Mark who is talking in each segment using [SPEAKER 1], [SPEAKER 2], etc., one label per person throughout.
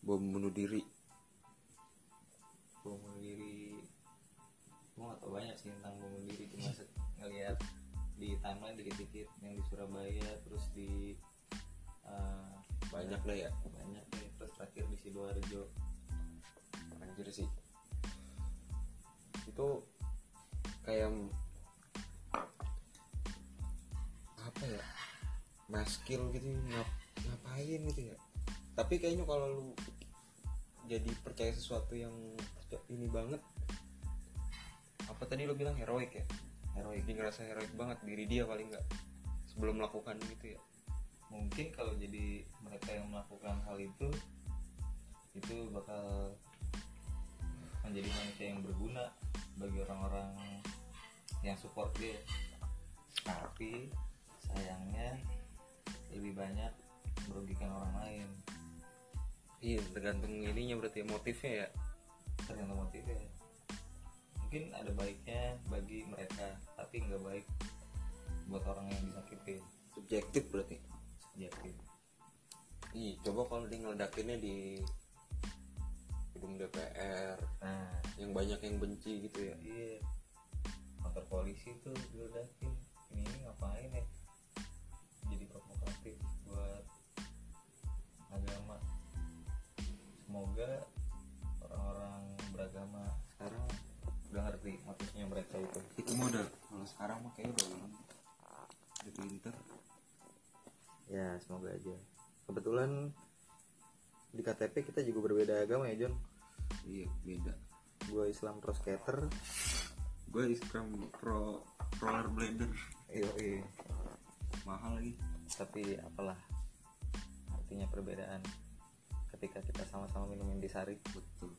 [SPEAKER 1] bom bunuh diri
[SPEAKER 2] bom bunuh diri gue gak tau banyak sih tentang bom bunuh diri cuma se- ngeliat di timeline dikit-dikit yang di Surabaya terus di eh,
[SPEAKER 1] banyak dah ya
[SPEAKER 2] banyak nih terus terakhir di sidoarjo
[SPEAKER 1] anjir sih itu kayak apa ya maskil gitu ngap, ngapain gitu ya tapi kayaknya kalau lu jadi percaya sesuatu yang ini banget apa tadi lu bilang heroik ya
[SPEAKER 2] heroik
[SPEAKER 1] dia ngerasa heroik banget diri dia paling nggak sebelum melakukan gitu ya
[SPEAKER 2] mungkin kalau jadi mereka yang melakukan hal itu itu bakal menjadi manusia yang berguna bagi orang-orang yang support dia tapi sayangnya lebih banyak merugikan orang lain
[SPEAKER 1] iya tergantung ininya berarti ya, motifnya ya
[SPEAKER 2] tergantung motifnya mungkin ada baiknya bagi mereka tapi nggak baik buat orang yang disakitin
[SPEAKER 1] subjektif berarti
[SPEAKER 2] subjektif
[SPEAKER 1] Ih, coba kalau dia ngeledakinnya di gedung DPR
[SPEAKER 2] nah
[SPEAKER 1] yang banyak yang benci gitu ya.
[SPEAKER 2] iya kantor polisi tuh diledakin ini, ini ngapain ya jadi provokatif buat agama semoga orang-orang beragama sekarang udah ngerti motifnya mereka itu
[SPEAKER 3] itu mah udah kalau sekarang mah kayaknya udah ulang udah pinter
[SPEAKER 2] ya semoga aja kebetulan di KTP kita juga berbeda agama ya John
[SPEAKER 3] iya beda
[SPEAKER 2] gue Islam pro skater
[SPEAKER 3] gue Instagram pro roller blader
[SPEAKER 2] iya
[SPEAKER 3] mahal lagi
[SPEAKER 2] tapi apalah artinya perbedaan ketika kita sama-sama minum Indisari
[SPEAKER 3] betul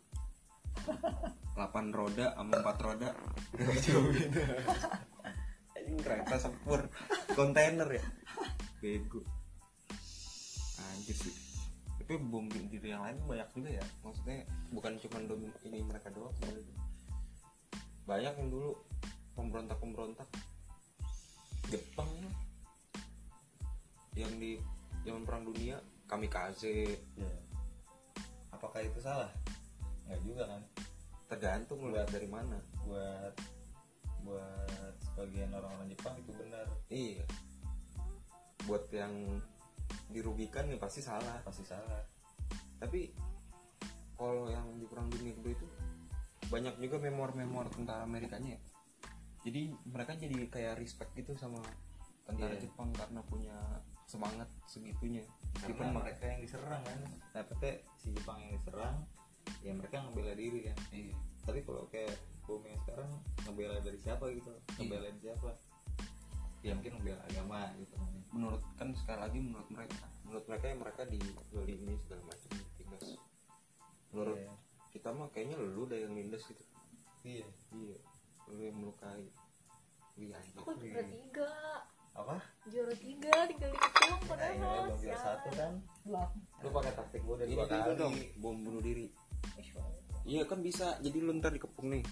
[SPEAKER 3] 8 roda sama 4 roda
[SPEAKER 1] Ini Gitu. kereta sepur kontainer ya.
[SPEAKER 3] bego
[SPEAKER 1] Anjir sih. Tapi bom diri yang lain banyak juga ya. Maksudnya bukan cuma dom ini mereka doang. sebenarnya. Banyak yang dulu pemberontak-pemberontak Jepang lah. yang di zaman perang dunia kamikaze
[SPEAKER 2] Ya. apakah itu salah nggak juga kan
[SPEAKER 1] tergantung lu lihat dari mana
[SPEAKER 2] buat buat sebagian orang-orang Jepang itu benar
[SPEAKER 1] iya buat yang dirugikan ya pasti salah
[SPEAKER 2] pasti salah
[SPEAKER 1] tapi kalau yang di perang dunia kedua itu banyak juga memor-memor tentara Amerikanya ya. jadi mereka jadi kayak respect gitu sama tentara
[SPEAKER 2] Iya.
[SPEAKER 1] Jepang karena punya semangat segitunya
[SPEAKER 2] karena
[SPEAKER 1] meskipun mereka
[SPEAKER 2] mereka yang diserang kan nah PT si Jepang yang diserang ya mereka ngebela diri kan
[SPEAKER 3] iya
[SPEAKER 2] tapi kalau kayak bom yang sekarang ngebela dari siapa gitu ngebela siapa ya mungkin ngebela agama gitu
[SPEAKER 3] menurut kan sekali lagi menurut mereka
[SPEAKER 1] menurut mereka yang mereka di di ini segala macam ditindas menurut
[SPEAKER 2] Iya.
[SPEAKER 1] kita mah kayaknya lu dah yang nindas gitu
[SPEAKER 2] iya
[SPEAKER 1] iya lu yang melukai Wih, anjir.
[SPEAKER 4] Aku juara tiga
[SPEAKER 2] apa
[SPEAKER 4] Juara tiga tinggal
[SPEAKER 1] Iya,
[SPEAKER 4] dihitung
[SPEAKER 2] Nah, ini
[SPEAKER 4] padahal
[SPEAKER 2] bang juara satu kan lu pakai taktik gue udah
[SPEAKER 1] ini
[SPEAKER 2] dua
[SPEAKER 1] juga
[SPEAKER 2] kali
[SPEAKER 1] dong bom bunuh diri iya kan bisa jadi lu ntar dikepung nih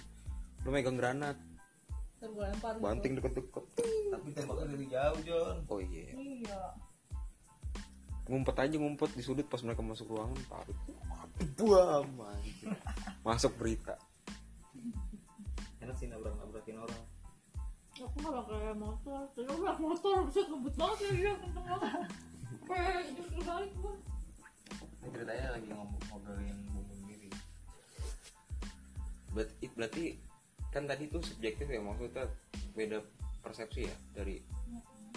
[SPEAKER 1] lu megang granat
[SPEAKER 5] Ntar gue lempar gitu.
[SPEAKER 1] banting deket-deket
[SPEAKER 2] tapi tembaknya dari jauh John
[SPEAKER 1] oh iya
[SPEAKER 5] Iya.
[SPEAKER 1] ngumpet aja ngumpet di sudut pas mereka masuk ruangan tarik buam anjir. masuk berita
[SPEAKER 2] enak sih nabrak nabrakin orang
[SPEAKER 5] Aku nggak pakai motor. Tadi aku naik motor bisa ngebut banget ya dia kenceng banget. Weh, justru balik gue.
[SPEAKER 2] ini ceritanya lagi ngom- ngobrolin bunuh diri
[SPEAKER 1] berarti, berarti kan tadi tuh subjektif ya maksudnya beda persepsi ya dari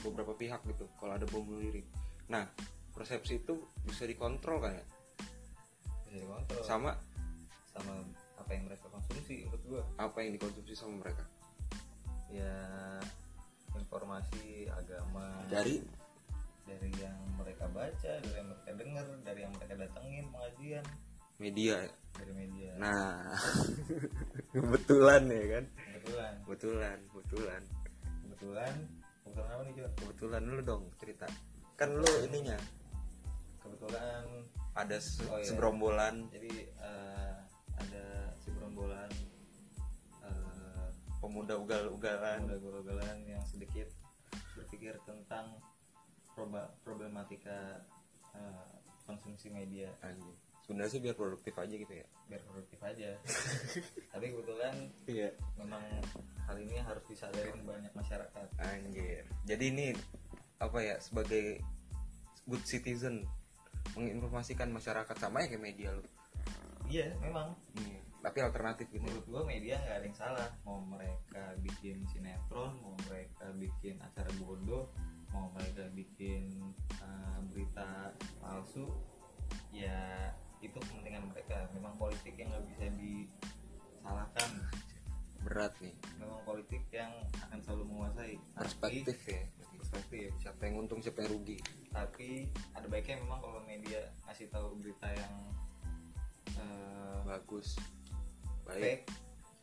[SPEAKER 1] beberapa pihak gitu kalau ada bom bunuh diri nah persepsi itu bisa dikontrol kan ya
[SPEAKER 2] bisa dikontrol Iya, sama,
[SPEAKER 1] sama
[SPEAKER 2] apa yang mereka konsumsi menurut gue
[SPEAKER 1] apa yang dikonsumsi sama mereka
[SPEAKER 2] ya informasi agama
[SPEAKER 1] dari
[SPEAKER 2] dari yang mereka baca dari yang mereka dengar dari yang mereka datengin pengajian
[SPEAKER 1] media ya.
[SPEAKER 2] dari media
[SPEAKER 1] nah kebetulan ya kan
[SPEAKER 2] kebetulan
[SPEAKER 1] kebetulan kebetulan
[SPEAKER 2] kebetulan kebetulan apa nih John
[SPEAKER 1] kebetulan lu dong cerita kan lu ininya
[SPEAKER 2] kebetulan
[SPEAKER 1] ada se-
[SPEAKER 2] Oh, iya.
[SPEAKER 1] segerombolan
[SPEAKER 2] jadi eh, ada si gerombolan eh,
[SPEAKER 1] pemuda ugal-ugalan
[SPEAKER 2] pemuda gerombolan yang sedikit berpikir tentang proba- problematika eh, konsumsi media
[SPEAKER 1] Anjing. sebenarnya sih biar produktif aja gitu ya
[SPEAKER 2] biar produktif aja tapi kebetulan
[SPEAKER 1] iya
[SPEAKER 2] memang hal ini harus disadarin banyak masyarakat
[SPEAKER 1] anjir jadi ini apa ya sebagai good citizen menginformasikan masyarakat sama ya kayak media lu
[SPEAKER 2] iya memang
[SPEAKER 1] tapi alternatif gitu
[SPEAKER 2] menurut gua media nggak ada yang salah mau mereka bikin sinetron mau mereka bikin acara bodoh mau mereka bikin eh, berita palsu ya itu kepentingan mereka memang politik yang nggak bisa disalahkan
[SPEAKER 1] berat nih
[SPEAKER 2] memang politik yang akan selalu menguasai Tapi-
[SPEAKER 1] perspektif ya
[SPEAKER 2] perspektif
[SPEAKER 1] siapa yang untung siapa yang rugi
[SPEAKER 2] tapi ada baiknya memang kalau media ngasih tahu berita yang eh,
[SPEAKER 1] bagus baik
[SPEAKER 2] fake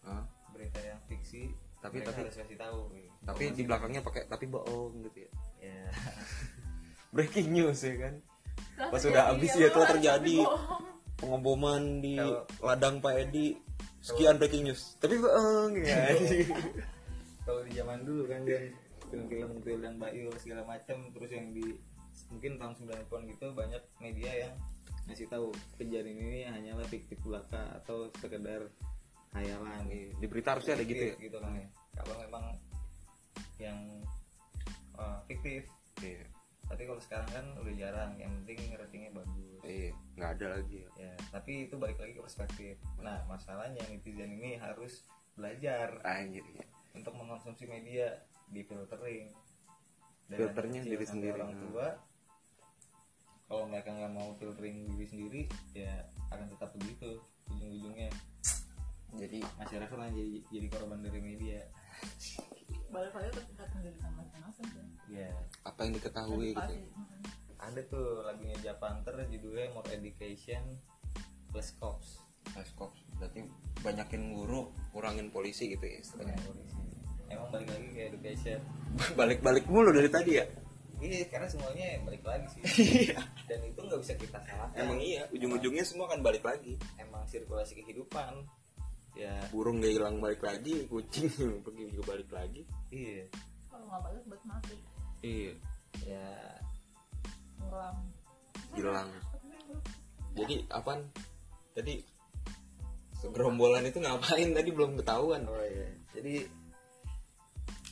[SPEAKER 1] Hah?
[SPEAKER 2] berita yang fiksi
[SPEAKER 1] Tapi-
[SPEAKER 2] mereka
[SPEAKER 1] tapi-
[SPEAKER 2] harus kasih tahu
[SPEAKER 1] tapi di belakangnya pakai tapi bohong gitu ya
[SPEAKER 2] ya
[SPEAKER 1] breaking news ya kan
[SPEAKER 5] Telah
[SPEAKER 1] Pas
[SPEAKER 5] terjadi,
[SPEAKER 1] udah habis ya,
[SPEAKER 5] lo
[SPEAKER 1] telah
[SPEAKER 5] harus
[SPEAKER 1] terjadi.
[SPEAKER 5] bohong.
[SPEAKER 1] pengeboman di
[SPEAKER 2] Kalau-
[SPEAKER 1] ladang Pak Edi sekian breaking news tapi bohong ya
[SPEAKER 2] kalau di zaman dulu kan dan film-film Tuyul dan Bayu segala macam terus yang di mungkin tahun 90-an gitu banyak media yang ngasih tahu kejadian ini hanyalah fiktif belaka atau sekedar khayalan
[SPEAKER 1] di berita harusnya ada gitu ya
[SPEAKER 2] Fiktif kan ya kalau memang yang eh, fiktif
[SPEAKER 1] iya
[SPEAKER 2] tapi kalau sekarang kan udah jarang yang penting ratingnya bagus
[SPEAKER 1] iya nggak ada lagi ya
[SPEAKER 2] ya tapi itu balik lagi ke perspektif nah masalahnya netizen ini harus belajar
[SPEAKER 1] anjir ya.
[SPEAKER 2] untuk mengkonsumsi media di filtering
[SPEAKER 1] Filternya diri sendiri,
[SPEAKER 2] orang
[SPEAKER 1] nah.
[SPEAKER 2] tua kalau mereka nggak mau filtering diri sendiri ya akan tetap begitu ujung-ujungnya
[SPEAKER 1] jadi
[SPEAKER 2] masyarakat akan jadi jadi korban dari media
[SPEAKER 5] balik lagi ke tingkat penderitaan masing-masing sih.
[SPEAKER 2] ya
[SPEAKER 1] apa yang diketahui gitu
[SPEAKER 5] Pasti.
[SPEAKER 1] ya.
[SPEAKER 5] Mm-mm.
[SPEAKER 2] ada tuh lagunya Japanter judulnya More Education plus Cops
[SPEAKER 1] Mas Kops, berarti banyakin guru kurangin polisi gitu ya istilahnya.
[SPEAKER 2] emang balik lagi ke education
[SPEAKER 1] balik-balik mulu dari tadi ya
[SPEAKER 2] Iya, karena semuanya balik lagi sih. Dan itu nggak bisa kita salahkan.
[SPEAKER 1] Iya. emang iya ujung-ujungnya semua akan balik lagi
[SPEAKER 2] Emang sirkulasi kehidupan. Ya,
[SPEAKER 1] burung gak hilang balik lagi kucing pergi juga balik lagi
[SPEAKER 2] iya.
[SPEAKER 5] Kalau nggak balik buat mati,
[SPEAKER 1] iya
[SPEAKER 2] Ya,
[SPEAKER 5] ngulang.
[SPEAKER 1] hilang jadi apaan tadi segerombolan itu ngapain tadi belum ketahuan
[SPEAKER 2] oh iya. Jadi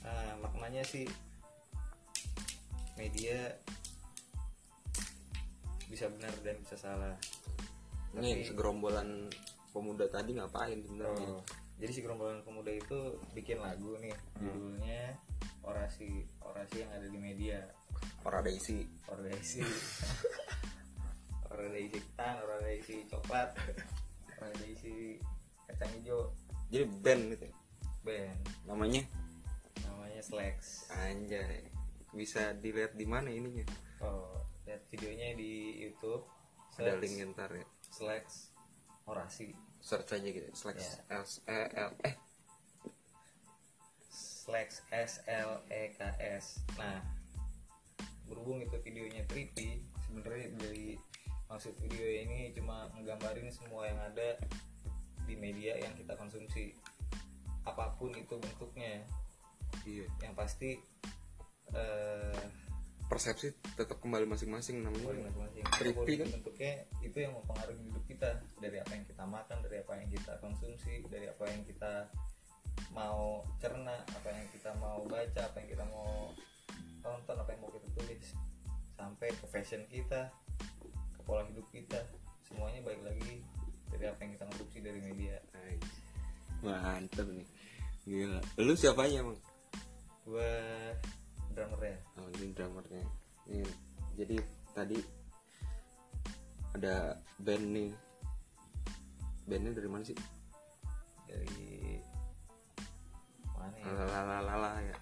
[SPEAKER 2] eh, maknanya sih media bisa benar dan bisa salah.
[SPEAKER 1] ini
[SPEAKER 2] Tapi-
[SPEAKER 1] segerombolan pemuda tadi ngapain sebenarnya
[SPEAKER 2] Oh, Jadi si gerombolan pemuda itu bikin lagu nih,
[SPEAKER 1] Hmm.
[SPEAKER 2] judulnya orasi orasi yang ada di media.
[SPEAKER 1] orang ada isi
[SPEAKER 2] orang ada isi orang ada isi ketan orang ada isi coklat orang ada isi kacang hijau
[SPEAKER 1] jadi band gitu ya.
[SPEAKER 2] band
[SPEAKER 1] namanya
[SPEAKER 2] namanya Slacks
[SPEAKER 1] anjay bisa dilihat di mana ininya
[SPEAKER 2] oh lihat videonya di YouTube
[SPEAKER 1] ada
[SPEAKER 2] search
[SPEAKER 1] link ntar ya
[SPEAKER 2] Slacks orasi
[SPEAKER 1] search aja gitu slash
[SPEAKER 2] Ya.
[SPEAKER 1] s e l eh
[SPEAKER 2] Slacks S L E K S nah berhubung itu videonya trippy sebenarnya dari maksud video ini cuma menggambarin semua yang ada di media yang kita konsumsi apapun itu bentuknya
[SPEAKER 1] iya
[SPEAKER 2] yang pasti eh
[SPEAKER 1] persepsi tetap kembali masing-masing
[SPEAKER 2] boleh
[SPEAKER 1] namanya
[SPEAKER 2] masing-masing
[SPEAKER 1] Trippy
[SPEAKER 2] Apapun
[SPEAKER 1] kan?
[SPEAKER 2] bentuknya itu yang mempengaruhi hidup kita dari apa yang kita makan dari apa yang kita konsumsi dari apa yang kita mau cerna apa yang kita mau baca apa yang kita mau tonton apa yang mau kita tulis sampai ke fashion kita ke pola hidup kita semuanya baik lagi dari apa yang kita konsumsi dari media
[SPEAKER 1] Ay, mantep nih gila lu siapanya emang
[SPEAKER 2] gue drummer ya
[SPEAKER 1] oh, ini drummernya ini jadi tadi ada band nih bandnya dari mana sih
[SPEAKER 2] dari mana ya Ah,
[SPEAKER 1] lalalala ya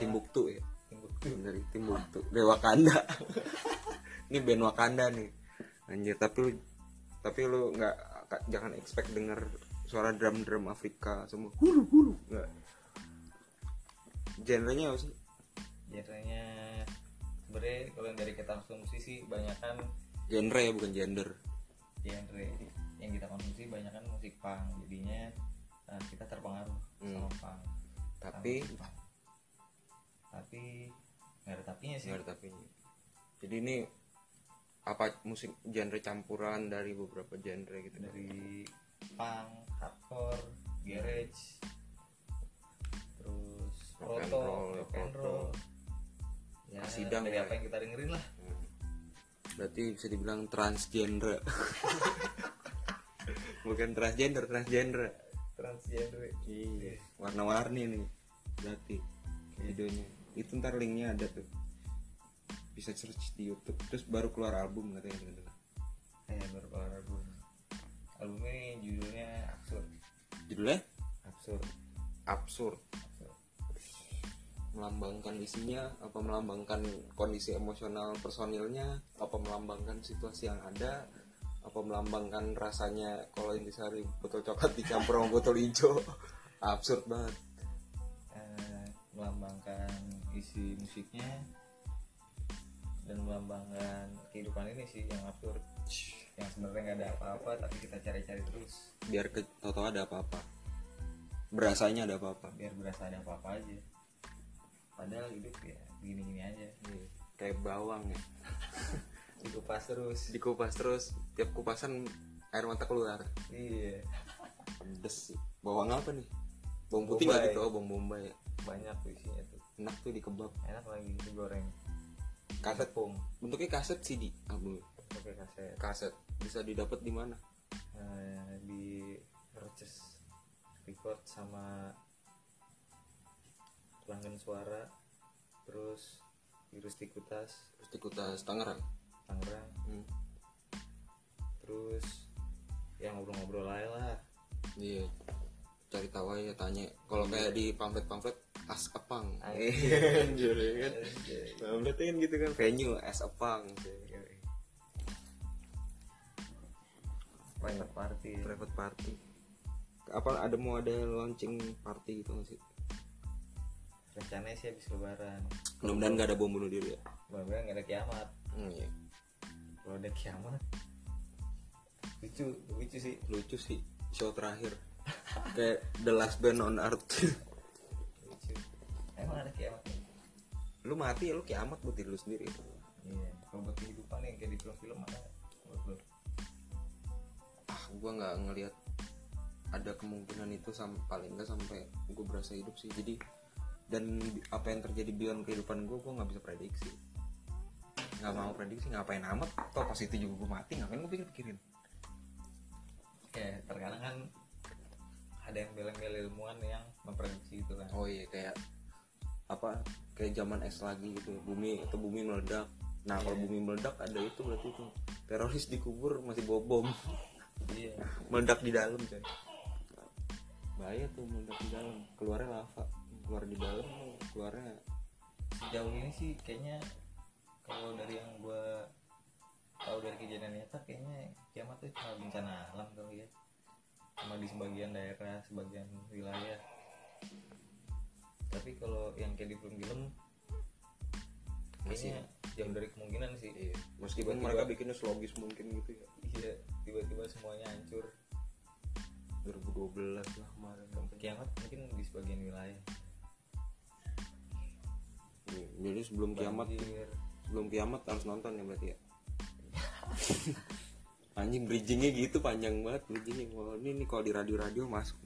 [SPEAKER 1] Timbuktu ya
[SPEAKER 2] Timbuktu
[SPEAKER 1] dari Timbuktu dari Wakanda ini band Wakanda nih anjir tapi lu tapi lu nggak ka- jangan expect denger suara drum drum Afrika semua hulu hulu nggak genrenya apa sih
[SPEAKER 2] biasanya sebenarnya kalau yang dari kita konsumsi sih banyakkan
[SPEAKER 1] genre ya bukan gender
[SPEAKER 2] genre yang kita konsumsi banyakkan musik punk jadinya eh, kita terpengaruh sama punk
[SPEAKER 1] Hmm. tapi
[SPEAKER 2] Sama punk. tapi nggak ada tapinya sih
[SPEAKER 1] nggak ada tapinya jadi ini apa musik genre campuran dari beberapa genre gitu
[SPEAKER 2] dari punk, hardcore, garage, terus
[SPEAKER 1] Rock and
[SPEAKER 2] proto,
[SPEAKER 1] roll,
[SPEAKER 2] rock and
[SPEAKER 1] proto.
[SPEAKER 2] roll. Ya,
[SPEAKER 1] Sidang
[SPEAKER 2] dari
[SPEAKER 1] ya.
[SPEAKER 2] apa yang kita dengerin lah.
[SPEAKER 1] berarti bisa dibilang transgender bukan transgender transgender
[SPEAKER 2] Transgender.
[SPEAKER 1] Iya. warna-warni nih berarti videonya itu ntar linknya ada tuh bisa search di YouTube terus baru keluar album katanya gitu
[SPEAKER 2] Eh, baru keluar album. Album ini judulnya absurd.
[SPEAKER 1] judulnya
[SPEAKER 2] Absurd.
[SPEAKER 1] absurd
[SPEAKER 2] absurd.
[SPEAKER 1] melambangkan isinya apa melambangkan kondisi emosional personilnya apa melambangkan situasi yang ada apa melambangkan rasanya kalau intisari botol coklat dicampur sama botol hijau absurd banget
[SPEAKER 2] Eh, melambangkan isi musiknya dan melambangkan kehidupan ini sih yang absurd yang sebenarnya nggak ada apa-apa tapi kita cari-cari terus
[SPEAKER 1] biar ke tau ada apa-apa berasanya ada apa-apa
[SPEAKER 2] biar berasa ada apa-apa aja padahal hidup ya gini-gini aja
[SPEAKER 1] kayak bawang ya
[SPEAKER 2] dikupas terus
[SPEAKER 1] dikupas terus tiap kupasan air mata keluar
[SPEAKER 2] iya
[SPEAKER 1] pedes sih bawang apa nih bawang putih nggak
[SPEAKER 2] Bombay.
[SPEAKER 1] gitu oh bawang bombay ya.
[SPEAKER 2] banyak tuh isinya tuh
[SPEAKER 1] enak tuh di kebab
[SPEAKER 2] enak lagi digoreng
[SPEAKER 1] kaset
[SPEAKER 2] tepung
[SPEAKER 1] bentuknya kaset CD album
[SPEAKER 2] pakai kaset
[SPEAKER 1] kaset bisa didapat di mana
[SPEAKER 2] Eh, di Roches record sama pelanggan suara terus di Rustikutas
[SPEAKER 1] terus di kota Tangerang
[SPEAKER 2] Tangerang
[SPEAKER 1] Hmm,
[SPEAKER 2] terus yang ngobrol-ngobrol aja lah
[SPEAKER 1] iya cari tahu aja tanya kalau kayak di pamflet pamflet as epang
[SPEAKER 2] Anjir.
[SPEAKER 1] anjir ya kan
[SPEAKER 2] Anjay.
[SPEAKER 1] pamflet kan gitu kan venue as epang gitu.
[SPEAKER 2] Yoi. private party
[SPEAKER 1] private party apa ada mau ada launching party gitu nggak sih
[SPEAKER 2] rencananya sih habis lebaran
[SPEAKER 1] mudah-mudahan nggak ada bom bunuh diri ya
[SPEAKER 2] mudah-mudahan nggak ada kiamat
[SPEAKER 1] Hmm, iya.
[SPEAKER 2] kalau ada kiamat lucu lucu sih
[SPEAKER 1] lucu sih show terakhir kayak the last band on earth
[SPEAKER 2] lucu emang ada kiamat nih?
[SPEAKER 1] lu mati ya lu kiamat buat diri lu sendiri
[SPEAKER 2] Iya, kalau buat kehidupan yang kayak di film-film ada nggak? Buat lo.
[SPEAKER 1] ah gua nggak ngelihat ada kemungkinan itu sampai paling nggak sampai gue berasa hidup sih jadi dan bi- apa yang terjadi beyond kehidupan gue gue nggak bisa prediksi nggak mau prediksi ngapain amat toh pas itu juga gue mati ngapain gue pikir pikirin
[SPEAKER 2] Kayak terkadang kan ada yang bilang-bilang ilmuwan yang memprediksi itu kan.
[SPEAKER 1] oh iya kayak apa kayak zaman es lagi gitu bumi atau bumi meledak nah kalau bumi meledak ada itu berarti itu teroris dikubur masih bawa bom
[SPEAKER 2] Iya.
[SPEAKER 1] meledak di dalam coy bahaya tuh meledak di dalam keluarnya lava keluar di dalam keluarnya
[SPEAKER 2] Sejauh ini sih kayaknya kalau dari yang gua tahu dari kejadian nyata kayaknya kiamat itu cuma bencana alam kali ya. Cuma di sebagian daerah, sebagian wilayah. Tapi kalau yang kayak di film-film
[SPEAKER 1] Masih. Iya.
[SPEAKER 2] kayaknya jauh dari kemungkinan sih.
[SPEAKER 1] meskipun
[SPEAKER 2] Tiba-tiba-
[SPEAKER 1] mereka bikinnya selogis mungkin gitu ya
[SPEAKER 2] Iya, tiba-tiba semuanya hancur.
[SPEAKER 1] 2012 lah kemarin
[SPEAKER 2] Kiamat mungkin di sebagian wilayah.
[SPEAKER 1] Iya, jadi sebelum kiamat
[SPEAKER 2] Banjir.
[SPEAKER 1] sebelum kiamat harus nonton ya berarti ya anjing bridgingnya gitu panjang banget bridgingnya Wah, ini nih kalau di radio radio masuk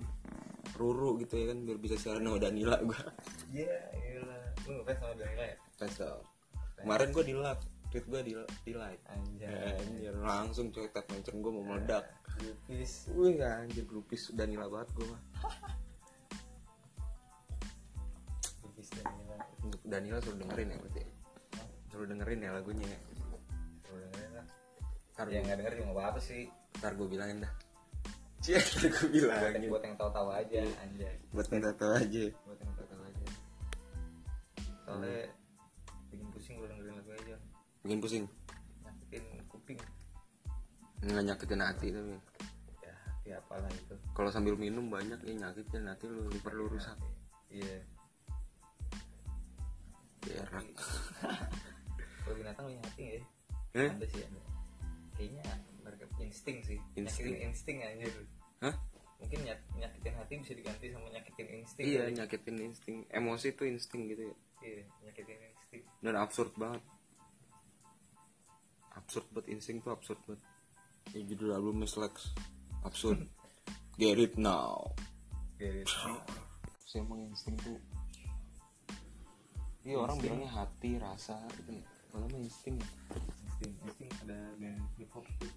[SPEAKER 1] ruru gitu ya kan biar bisa siaran sama Danila gue
[SPEAKER 2] Iya, iyalah. Lu ngefans sama Danila ya?
[SPEAKER 1] kemarin gue di live tweet gue di, di live Iya.
[SPEAKER 2] Anjay.
[SPEAKER 1] anjir langsung coy tap menceng gue mau meledak
[SPEAKER 2] Grupis.
[SPEAKER 1] wih anjir grupis Danila banget gue mah
[SPEAKER 2] Grupis Danila.
[SPEAKER 1] untuk Danila suruh dengerin ya berarti ya. suruh dengerin ya lagunya ya
[SPEAKER 2] Lu dengerin lah.
[SPEAKER 1] ntar
[SPEAKER 2] Ya
[SPEAKER 1] gue
[SPEAKER 2] nggak denger juga nggak apa-apa sih.
[SPEAKER 1] ntar gua bilangin dah cie Iya, ntar Iya. gue
[SPEAKER 2] Buat yang,
[SPEAKER 1] bilangin
[SPEAKER 2] buat yang tahu-tahu aja, anjay.
[SPEAKER 1] buat nonton aja
[SPEAKER 2] Buat yang tahu-tahu aja. Soalnya
[SPEAKER 1] Iya.
[SPEAKER 2] bikin pusing lu dengerin lagu aja.
[SPEAKER 1] bikin pusing
[SPEAKER 2] Nyakitin kuping.
[SPEAKER 1] nggak nyakitin hati tapi
[SPEAKER 2] Ya, hati apalah itu.
[SPEAKER 1] kalau sambil minum banyak ya nyakitin hati lu liver lu rusak
[SPEAKER 2] Iya.
[SPEAKER 1] berak
[SPEAKER 2] Kalau binatang lu nyakitin nggak ya?
[SPEAKER 1] eh
[SPEAKER 2] Ada sih ada. Kayaknya mereka insting sih.
[SPEAKER 1] Insting.
[SPEAKER 2] Nyakitin insting anjir.
[SPEAKER 1] Hah?
[SPEAKER 2] Mungkin nyak- nyakitin hati bisa diganti sama nyakitin insting.
[SPEAKER 1] iya nyakitin insting emosi itu insting gitu ya
[SPEAKER 2] Iya, nyakitin insting.
[SPEAKER 1] dan absurd banget absurd buat insting tuh absurd buat ya, judul albumnya Slax absurd get it now
[SPEAKER 2] Get it.
[SPEAKER 1] gitu. saya emang insting tuh iya orang
[SPEAKER 2] Insting.
[SPEAKER 1] bilangnya hati rasa itu ya kalau mah insting ya.
[SPEAKER 2] Insting, insting ada band hip hop tuh